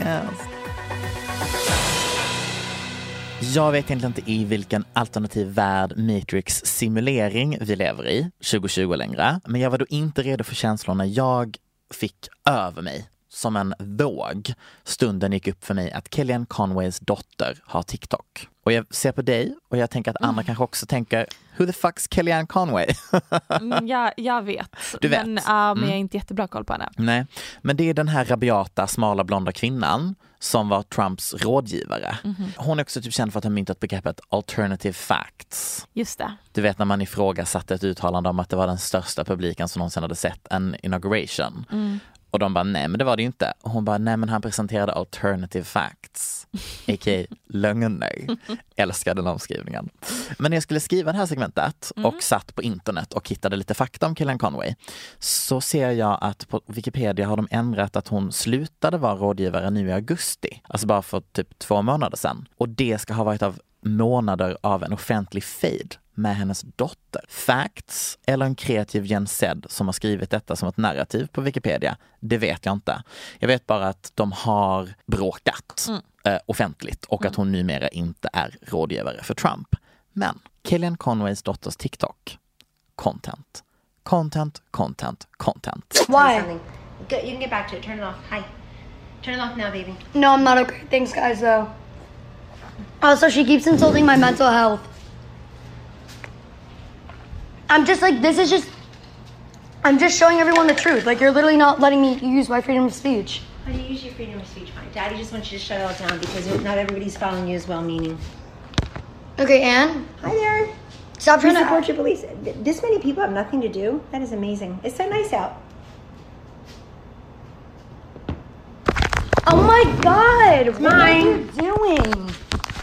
Jag vet egentligen inte i vilken alternativ värld Matrix simulering vi lever i, 2020 längre. Men jag var då inte redo för känslorna jag fick över mig som en våg. Stunden gick upp för mig att Kellyanne Conways dotter har TikTok. Och jag ser på dig och jag tänker att andra kanske också tänker, who the fuck's Kellyanne Conway? Mm, jag, jag vet. Mm. Du vet. Men, ja, men jag har inte jättebra koll på henne. Nej, men det är den här rabiata, smala, blonda kvinnan som var Trumps rådgivare. Hon är också typ känd för att ha myntat begreppet alternative facts. Just det. Du vet när man ifrågasatte ett uttalande om att det var den största publiken som någonsin hade sett en inauguration. Och de bara nej men det var det ju inte. Och hon bara nej men han presenterade alternative facts. A.k.a. lögner. Älskar den omskrivningen. Men när jag skulle skriva det här segmentet och satt på internet och hittade lite fakta om Kellyanne Conway så ser jag att på Wikipedia har de ändrat att hon slutade vara rådgivare nu i augusti. Alltså bara för typ två månader sedan. Och det ska ha varit av månader av en offentlig fejd med hennes dotter. Facts eller en kreativ Jens Zed som har skrivit detta som ett narrativ på Wikipedia, det vet jag inte. Jag vet bara att de har bråkat eh, offentligt och att hon numera inte är rådgivare för Trump. Men Kellyanne Conways dotters TikTok, content, content, content, content. Why? Go, you can get back to it. Turn it off. Hi. Turn it off now, baby. No, I'm not okay. Thanks, guys, though. Also, she keeps insulting my mental health. I'm just like, this is just. I'm just showing everyone the truth. Like, you're literally not letting me use my freedom of speech. Honey, use your freedom of speech. Fine. Daddy just wants you to shut it all down because not everybody's following you as well-meaning. Okay, Anne? Hi there. Stop We trying to. support your beliefs. Th- This many people have nothing to do. That is amazing. It's so nice out. Oh my god! What are you doing?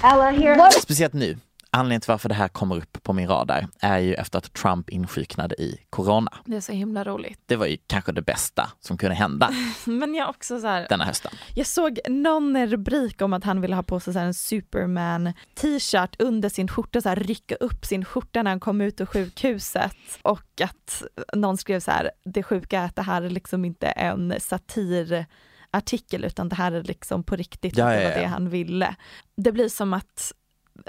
Ella here. What? Speciellt nu. Anledningen till varför det här kommer upp på min radar är ju efter att Trump insjuknade i corona. Det är så himla roligt. Det var ju kanske det bästa som kunde hända Men jag också så här, denna hösten. jag såg någon rubrik om att han ville ha på sig så här en Superman t-shirt under sin skjorta, så här rycka upp sin skjorta när han kom ut ur sjukhuset. Och att någon skrev så här, det sjuka är att det här är liksom inte en satirartikel utan det här är liksom på riktigt, Ja, det ja, var ja. det han ville. Det blir som att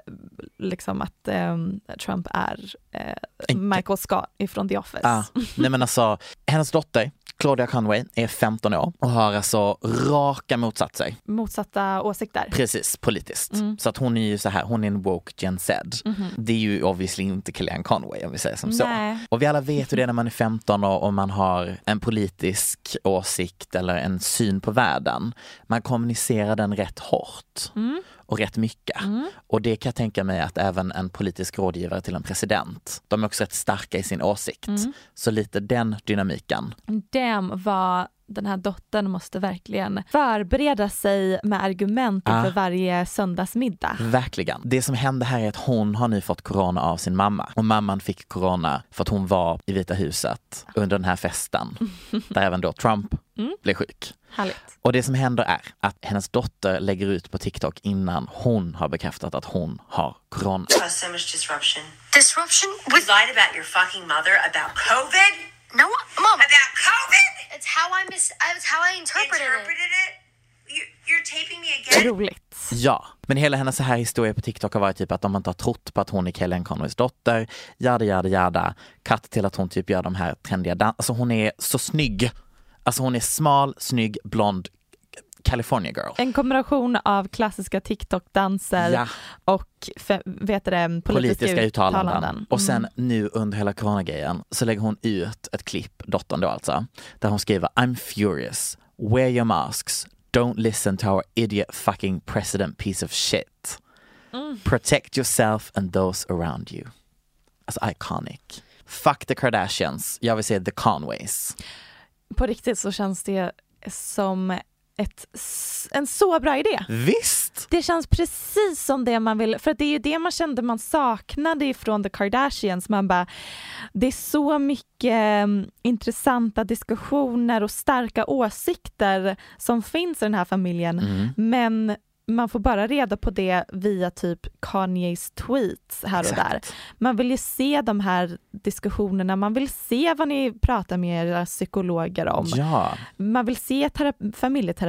eh, liksom att ehm, Trump är eh, En- Michael Scott ifrån The Office. Ah, nej men alltså, hennes dotter Claudia Conway är 15 år och har alltså raka motsatt sig, Motsatta åsikter. precis politiskt. Så att hon är ju så här, hon är en woke Gen Z. Det är ju obviously inte Kellyanne Conway om vi säger som Nej. så. Och vi alla vet hur det är när man är 15 och, och man har en politisk åsikt eller en syn på världen. Man kommunicerar den rätt hårt och rätt mycket. Och det kan jag tänka mig att även en politisk rådgivare till en president, de är också rätt starka i sin åsikt. Så lite den dynamiken. Damn vad den här dottern måste verkligen förbereda sig med argument inför Ah. Mm. varje söndagsmiddag. Verkligen. Det som hände här är att hon har nu fått corona av sin mamma. Och mamman fick corona för att hon var i Vita huset under den här festen. Där även då Trump blev sjuk. Härligt. Och det som händer är att hennes dotter lägger ut på TikTok innan hon har bekräftat att hon har corona. Caused so much disruption. Disruption You with. lied about your fucking mother about COVID. No, Mom. About COVID. It's how I mis. It's how I interpreted it. Interpreted it. You, you're taping me again. Roligt. Ja, men hela hennes så här historia på TikTok har varit typ att de inte har trott på att hon är Kellyanne Conways dotter, jada jada jada, katt till att hon typ gör de här trendiga dans... Alltså hon är så snygg. Alltså hon är smal, snygg, blond, California girl. En kombination av klassiska TikTok-danser Ja. och fe- vet du det, politiska, politiska uttalanden. Mm. uttalanden. Mm. Och sen nu under hela coronagrejen så lägger hon ut ett klipp, dottern då alltså, där hon skriver I'm furious, wear your masks, don't listen to our idiot fucking president piece of shit. Mm. Protect yourself and those around you. Alltså iconic. Fuck the Kardashians, jag vill säga the Conways. På riktigt så känns det som ett, s- en så bra idé. Visst! Det känns precis som det man vill, för att det är ju det man kände man saknade ifrån The Kardashians. Man bara, det är så mycket mm, intressanta diskussioner och starka åsikter som finns i den här familjen, men man får bara reda på det via typ Kanyes tweets här och där. Man vill ju se de här diskussionerna, man vill se vad ni pratar med era psykologer om. Ja. Man vill se tera-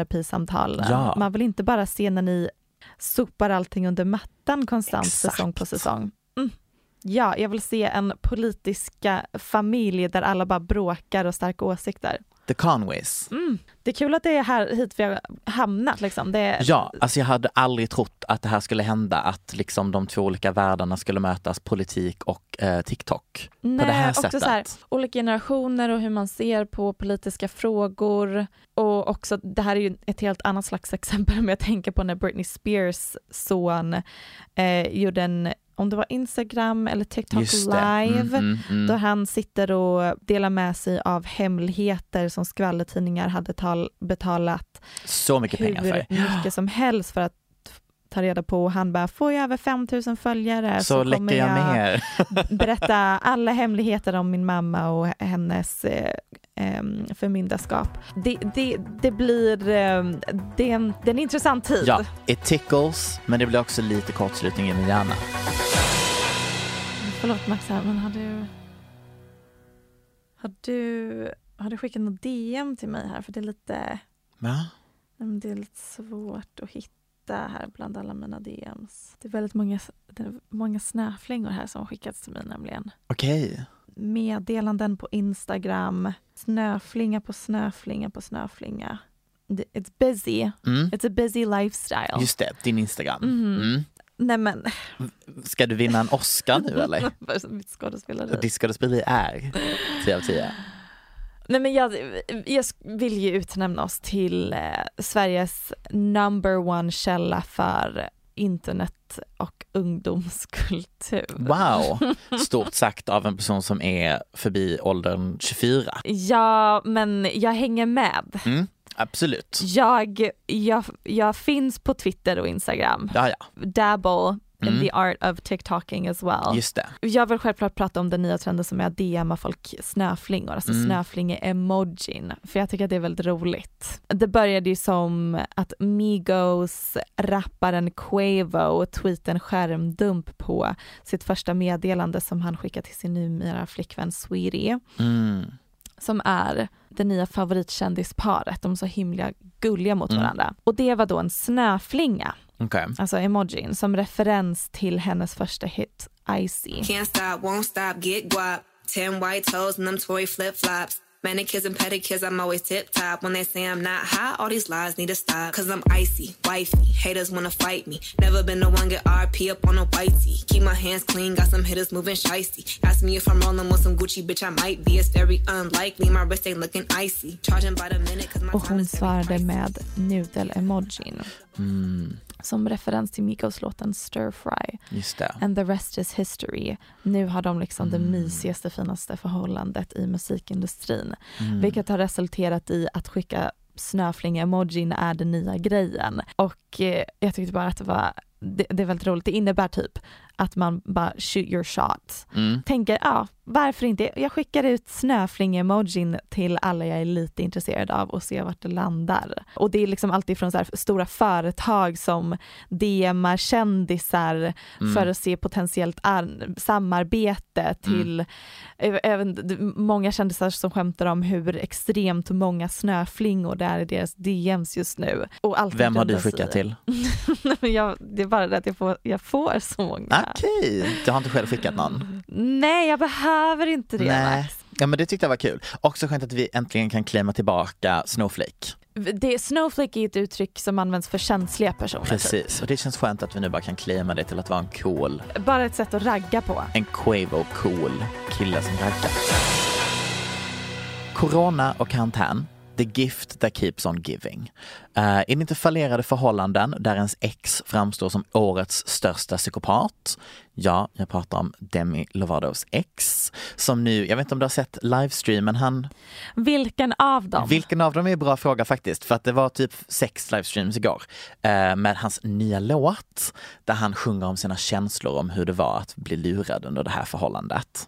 familjeterapisamtalen. Ja. Man vill inte bara se när ni sopar allting under mattan konstant säsong på säsong. Mm. Ja, jag vill se en politiska familj där alla bara bråkar och starka åsikter. The Conways. Mm. Det är kul att det är här hit vi har hamnat liksom. Det är, Ja, alltså jag hade aldrig trott att det här skulle hända, att liksom de två olika världarna skulle mötas, politik och eh, TikTok. på det här också sättet. Så här, olika generationer och hur man ser på politiska frågor. Och också, det här är ju ett helt annat slags exempel, men jag tänker på när Britney Spears son eh, gjorde en, om det var Instagram eller TikTok Just det. live, Mm, mm, mm. då han sitter och delar med sig av hemligheter som skvallertidningar hade tal- betalat Så mycket pengar för. hur mycket som helst för att ta reda på och han bara, får jag över 5000 följare Så, så, läcker kommer jag mer. berätta alla hemligheter om min mamma och hennes eh, em, förmyndarskap. Det, det, det blir, em, det är, en, det är en intressant tid. Ja, it tickles, men det blir också lite kortslutning i min hjärna. Förlåt Max, här, men har du, har du, har du skickat något DM till mig här? För det är lite, Va? nej, men det är lite svårt att hitta här bland alla mina DMs. Det är väldigt många, det är många snöflingor här som har skickats till mig nämligen. Okej. meddelanden på Instagram, snöflinga på snöflinga på snöflinga. D- It's busy. Mm. It's a busy lifestyle. Just det, din Instagram. Mhm. Mm. Nej men, Ska du vinna en Oscar nu eller? för mitt skådespeleri. Diskadespelare är 10 av 10. Nej men jag, jag sk- vill ju utnämna oss till eh, Sveriges number one källa för internet och ungdomskultur. Wow! Stort sagt av en person som är förbi åldern 24. Ja men jag hänger med. Mm. Absolut. Jag, jag, jag finns på Twitter och Instagram. Ja, ja, dabble in Mm. the art of TikToking as well. just det. Jag vill självklart prata om den nya trenden som är att DMa folk snöflingor, alltså Mm. snöflinge-emojin, för jag tycker att det är väldigt roligt. Det började ju som att Migos, rapparen Quavo, tweetade en skärmdump på sitt första meddelande som han skickade till sin numera flickvän Sweetie Mm. som är det nya favoritkändiskaret. De är så himla gulliga mot Mm. varandra. Och det var då en snöflinga Okej. alltså emojin, som referens till hennes första hit Icy. Can't stop, won't stop, get guap. Ten white toes and them toy flip flops. Manicures and pedicures, I'm always tip top. When they say I'm not hot, all these lies need to stop. Cause I'm icy, wifey. Haters wanna fight me. Never been the one get RP up on a whitey. Keep my hands clean, got some hitters moving shicey. Ask me if I'm rolling with some Gucci, bitch, I might be. It's very unlikely, my wrist ain't looking icy. Charging by the minute, cause my Och time hon is very svarade pricey. med nudel-emojin Mm. som referens till Migos låten Stir Fry Just det. and the rest is history. Nu har de liksom det mysigaste, finaste förhållandet i musikindustrin. Vilket har resulterat i att skicka snöflinga-emojin är den nya grejen. Och eh, jag tyckte bara att det var, det, det är väldigt roligt. Det innebär typ att man bara shoot your shot. Mm. tänker, ja, varför inte? Jag skickar ut snöflinge-emojin till alla jag är lite intresserad av och ser vart det landar. Och det är liksom alltid från så här stora företag som DMar kändisar Mm. för att se potentiellt ar- samarbete till eh, även d- många kändisar som skämtar om hur extremt många snöflingor det är i deras DMs just nu. Och allt Vem har du grundas i- skickat till? Men jag, det är bara det att jag får, jag får så många. Okej, du har inte själv skickat någon? Nej, jag behöver inte det Nej. Max. Ja men det tyckte jag var kul. Också skönt att vi äntligen kan klämma tillbaka Snowflake. Det, snowflake är ett uttryck som används för känsliga personer. Typ. Precis, och det känns skönt att vi nu bara kan claima det till att vara en cool, Bara ett sätt att ragga på. en Quavo cool kille som raggar. Corona och karantän, The gift that keeps on giving. Uh, in inte fallerade förhållanden där ens ex framstår som årets största psykopat. Ja, jag pratar om Demi Lovatos ex som nu, jag vet inte om du har sett livestreamen han... Vilken av dem? Vilken av dem är en bra fråga faktiskt för att det var typ sex livestreams igår eh, med hans nya låt där han sjunger om sina känslor om hur det var att bli lurad under det här förhållandet.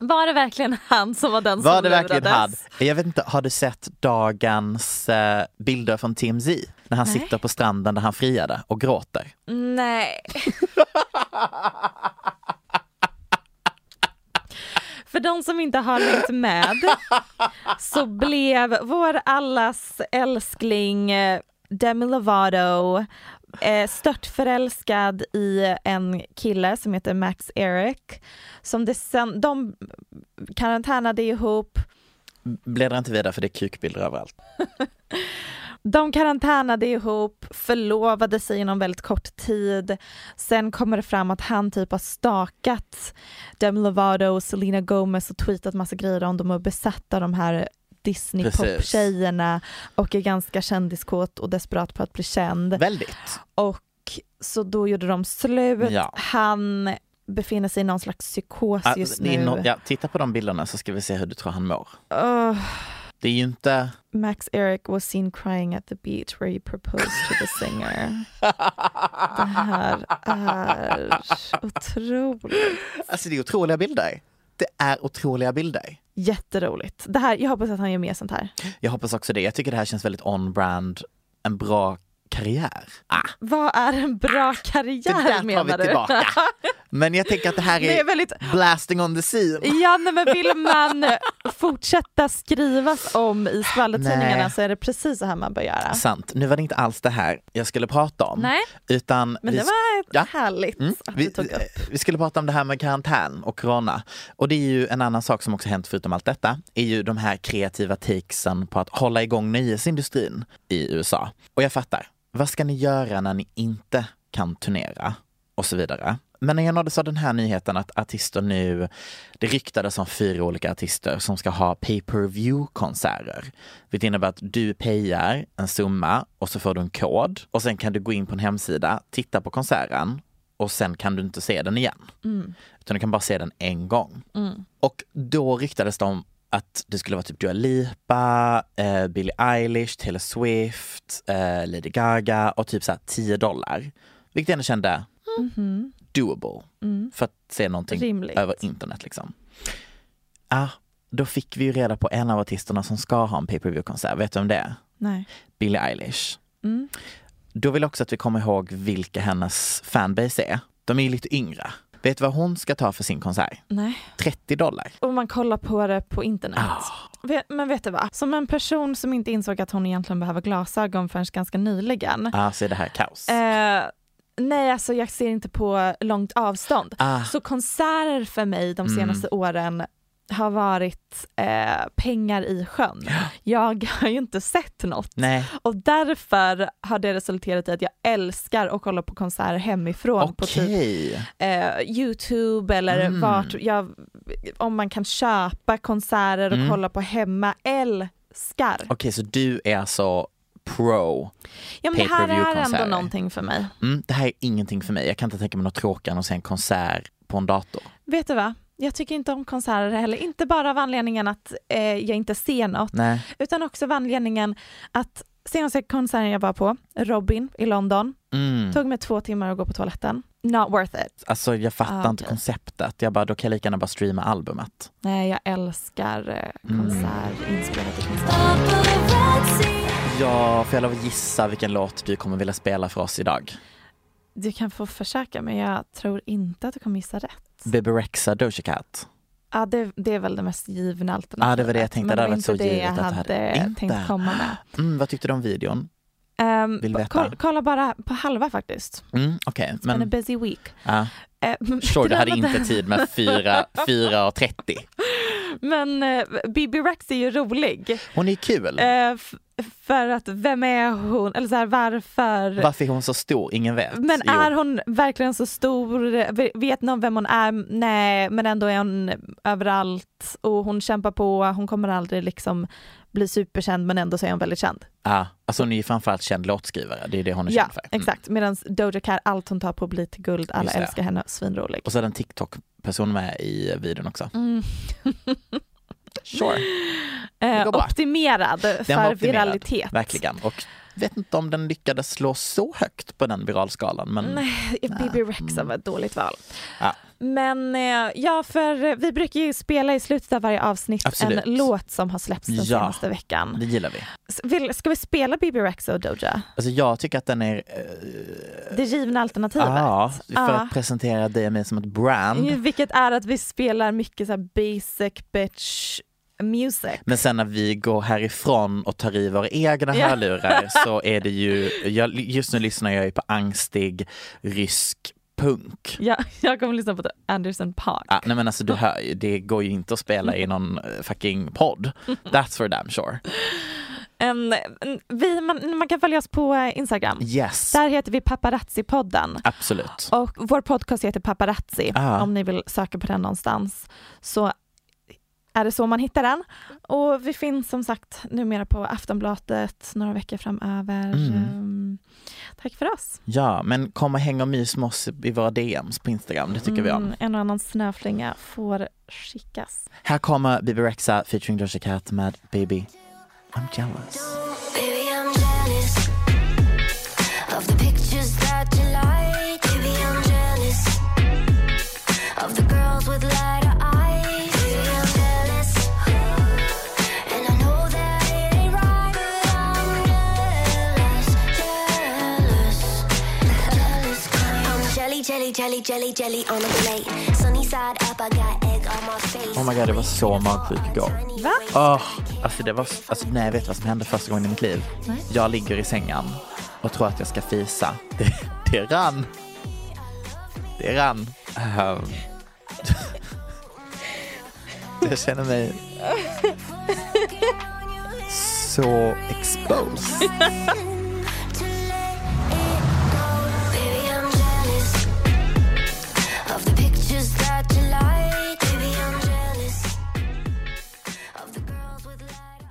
Var det verkligen han som var den Var som det verkligen han? lurades? Jag vet inte, har du sett dagens eh, bilder från TMZ? När han Nej. sitter på stranden där han friade och gråter. Nej. För de som inte har hängt med så blev vår allas älskling eh, Demi Lovato eh, störtförälskad i en kille som heter Max Eric. Som det sen, de karantänade ihop, Bläddra inte vidare för det är kukbilder överallt. De karantänade ihop, förlovade sig inom väldigt kort tid. Sen kommer det fram att han typ har stakat Demi Lovato och Selena Gomez och tweetat massa grejer om de är besatta de här Disney Precis. poptjejerna och är ganska kändiskåt och desperat på att bli känd. Väldigt. Och så då gjorde de slut. Ja. Han befinner sig i någon slags psykos Ah, Alltså, just det nu. är no- ja, titta på de bilderna så ska vi se hur du tror han mår. Ugh. Det är ju inte... Max Eric was seen crying at the beach where he proposed to the singer. Det här är otroligt. Alltså det är otroliga bilder. Det är otroliga bilder. Jätteroligt. Det här, jag hoppas att han gör mer sånt här. Jag hoppas också det. Jag tycker det här känns väldigt on-brand. En bra karriär. Ah, Vad är en bra det karriär där tar menar vi du? tillbaka. Men jag tänker att det här är, Det är väldigt... blasting on the scene. Ja, nej, men vill man fortsätta skrivas om i skvallertidningarna Nej. så är det precis så här man bör göra. Sant. Nu var det inte alls det här jag skulle prata om. Nej, Utan men vi det var Ja. härligt Mm. att du Vi, tog upp. vi skulle prata om det här med karantän och corona. Och det är ju en annan sak som också hänt förutom allt detta, är ju de här kreativa takesen på att hålla igång nöjesindustrin i USA. Och jag fattar, vad ska ni göra när ni inte kan turnera och så vidare? Men när jag nåddes av den här nyheten att artister nu, det ryktades om fyra olika artister som ska ha pay-per-view-konserter. Vilket innebär att du payar en summa och så får du en kod och sen kan du gå in på en hemsida, titta på konserten och sen kan du inte se den igen. Utan du kan bara se den en gång. Och då ryktades det om att det skulle vara typ Dua Lipa, eh, Billie Eilish, Taylor Swift, eh, Lady Gaga och typ så här 10 dollar. Vilket jag ändå kände doable för att se någonting Rimligt. över internet liksom. Ah, då fick vi ju reda på en av artisterna som ska ha en pay-per-view-konsert. Vet du vem det är? Nej. Billie Eilish. Mm. Då vill jag också att vi kommer ihåg vilka hennes fanbase är. De är ju lite yngre. Vet du vad hon ska ta för sin konsert? Nej. 30 dollar. Och man kollar på det på internet. Ah. Ve- Men vet du vad? Som en person som inte insåg att hon egentligen behöver glasögon förrän ganska nyligen. Ah, så är det här kaos. Eh, nej, alltså jag ser inte på långt avstånd. Ah. Mm. Så konserter för mig de senaste åren har varit eh, pengar i sjön. Jag har ju inte sett något. Nej, Och därför har det resulterat i att jag älskar att kolla på konserter hemifrån på typ okej. eh, Youtube eller Mm. vart, jag, om man kan köpa konserter och Mm. kolla på hemma. Älskar! Okej, så du är alltså pro. ja, men det här är ändå pay-per-view-konserter. någonting för mig. Mm, det här är ingenting för mig. Jag kan inte tänka mig något tråkigare än att se en konsert på en dator. Vet du vad? Jag tycker inte om konserter heller, inte bara av anledningen att eh, jag inte ser något, Nej. utan också av anledningen att senaste konserten jag var på, Robin i London, Mm. tog mig två timmar att gå på toaletten. Not worth it. Alltså jag fattar Ah, inte okej. konceptet. Jag bara, då kan jag lika gärna bara streama albumet. Nej, jag älskar eh, konsert, inspelade konserter. Ja, får jag lov att gissa vilken låt du kommer vilja spela för oss idag? Du kan få försöka, men jag tror inte att du kommer gissa rätt. Bebe Rexha, Doja Cat. Ja, det, det är väl det mest givna alternativet. Ja, det var det jag tänkte. Men Det var hade varit inte så det givet jag att det hade, hade- Inte. tänkt komma med. Mm, vad tyckte du om videon? Ehm, Vill ko- veta. kolla bara på halva faktiskt. Mm, Okej, Men, en men busy week. ja. Uh, sure, du hade inte tid med 4 4.30. Men eh, Bibi Rex är ju rolig. Hon är kul. Eh, f- för att vem är hon, eller så här, varför? Varför är hon så stor? Ingen vet. Men Jo. är hon verkligen så stor? Vet någon vem hon är? Nej, men ändå är hon överallt och hon kämpar på. Hon kommer aldrig liksom bli superkänd men ändå så är hon väldigt känd. Ja, alltså hon är ju framförallt känd låtskrivare, det är det hon är Ja, känd för. Mm. exakt. Medan Doja Cat, allt hon tar på blir till guld. Alla Just det. älskar henne, svinrolig. Och så är det en TikTok-person med i videon också. Mm. Sure. Eh, går bra. optimerad Den var för optimerad, viralitet. Verkligen. Och vet inte om den lyckades slå så högt på den viralskalan. Men Nej, Bibi Rexa var ett dåligt val. Ja. Men eh, ja, för eh, vi brukar ju spela i slutet av varje avsnitt Absolut. en låt som har släppts den Ja. senaste veckan. det gillar vi. S- Vill, ska vi spela Bibi Rexa och Doja? Alltså jag tycker att den är... eh, Det givna alternativet. Ja, för Ja. Eh, att presentera dig och mig som ett brand. Vilket är att vi spelar mycket så här basic bitch music. Men sen när vi går härifrån och tar i våra egna Ja. hörlurar så är det ju, jag, just nu lyssnar jag ju på angstig rysk punk. Ja, jag kommer lyssna på Anderson Park. Ja, nej men alltså du hör ju, det går ju inte att spela i någon eh, fucking podd. That's for damn sure. En, en, vi, man, man kan följa oss på eh, Instagram. Yes, Där heter vi Paparazzi-podden. absolut. Och vår podcast heter Paparazzi. Ah. Om ni vill söka på den någonstans så är det så man hittar den. Och vi finns som sagt numera på Aftonbladet några veckor framöver. Mm. Ehm, tack för oss. Ja, men kom och häng och mys med oss i våra DMs på Instagram, det tycker vi om. Mm, En och annan snöflinga får skickas. Här kommer Bibi Rexa featuring Doja Cat med Baby I'm jealous. Baby, I'm jealous of the pictures that you like. Baby, I'm jealous of the girls with lighter eyes. Baby, I'm jealous, and I know that it ain't right. But I'm jealous, jealous, jealous. I'm jelly, jelly, jelly, jelly, jelly on a plate. Sunny side up, I got egg on my face. Oh my god, det var så magsjuk igår. Va? Åh, alltså det var, alltså nej jag vet vad som hände första gången i mitt liv. Nej. Jag ligger i sängen och tror att jag ska fisa. Det, det rann. Det rann. Ehm. jag känner mig så exposed. Baby, I'm jealous of the pictures that you like. Baby, I'm jealous of the girls with light.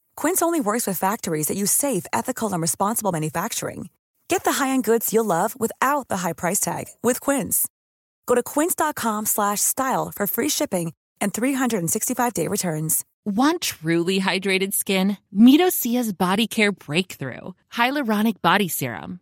Quince only works with factories that use safe, ethical, and responsible manufacturing. Get the high-end goods you'll love without the high price tag with Quince. Go to quince.com slash style for free shipping and 365-day returns. Want truly hydrated skin? Meet Osea's Body Care Breakthrough Hyaluronic Body Serum.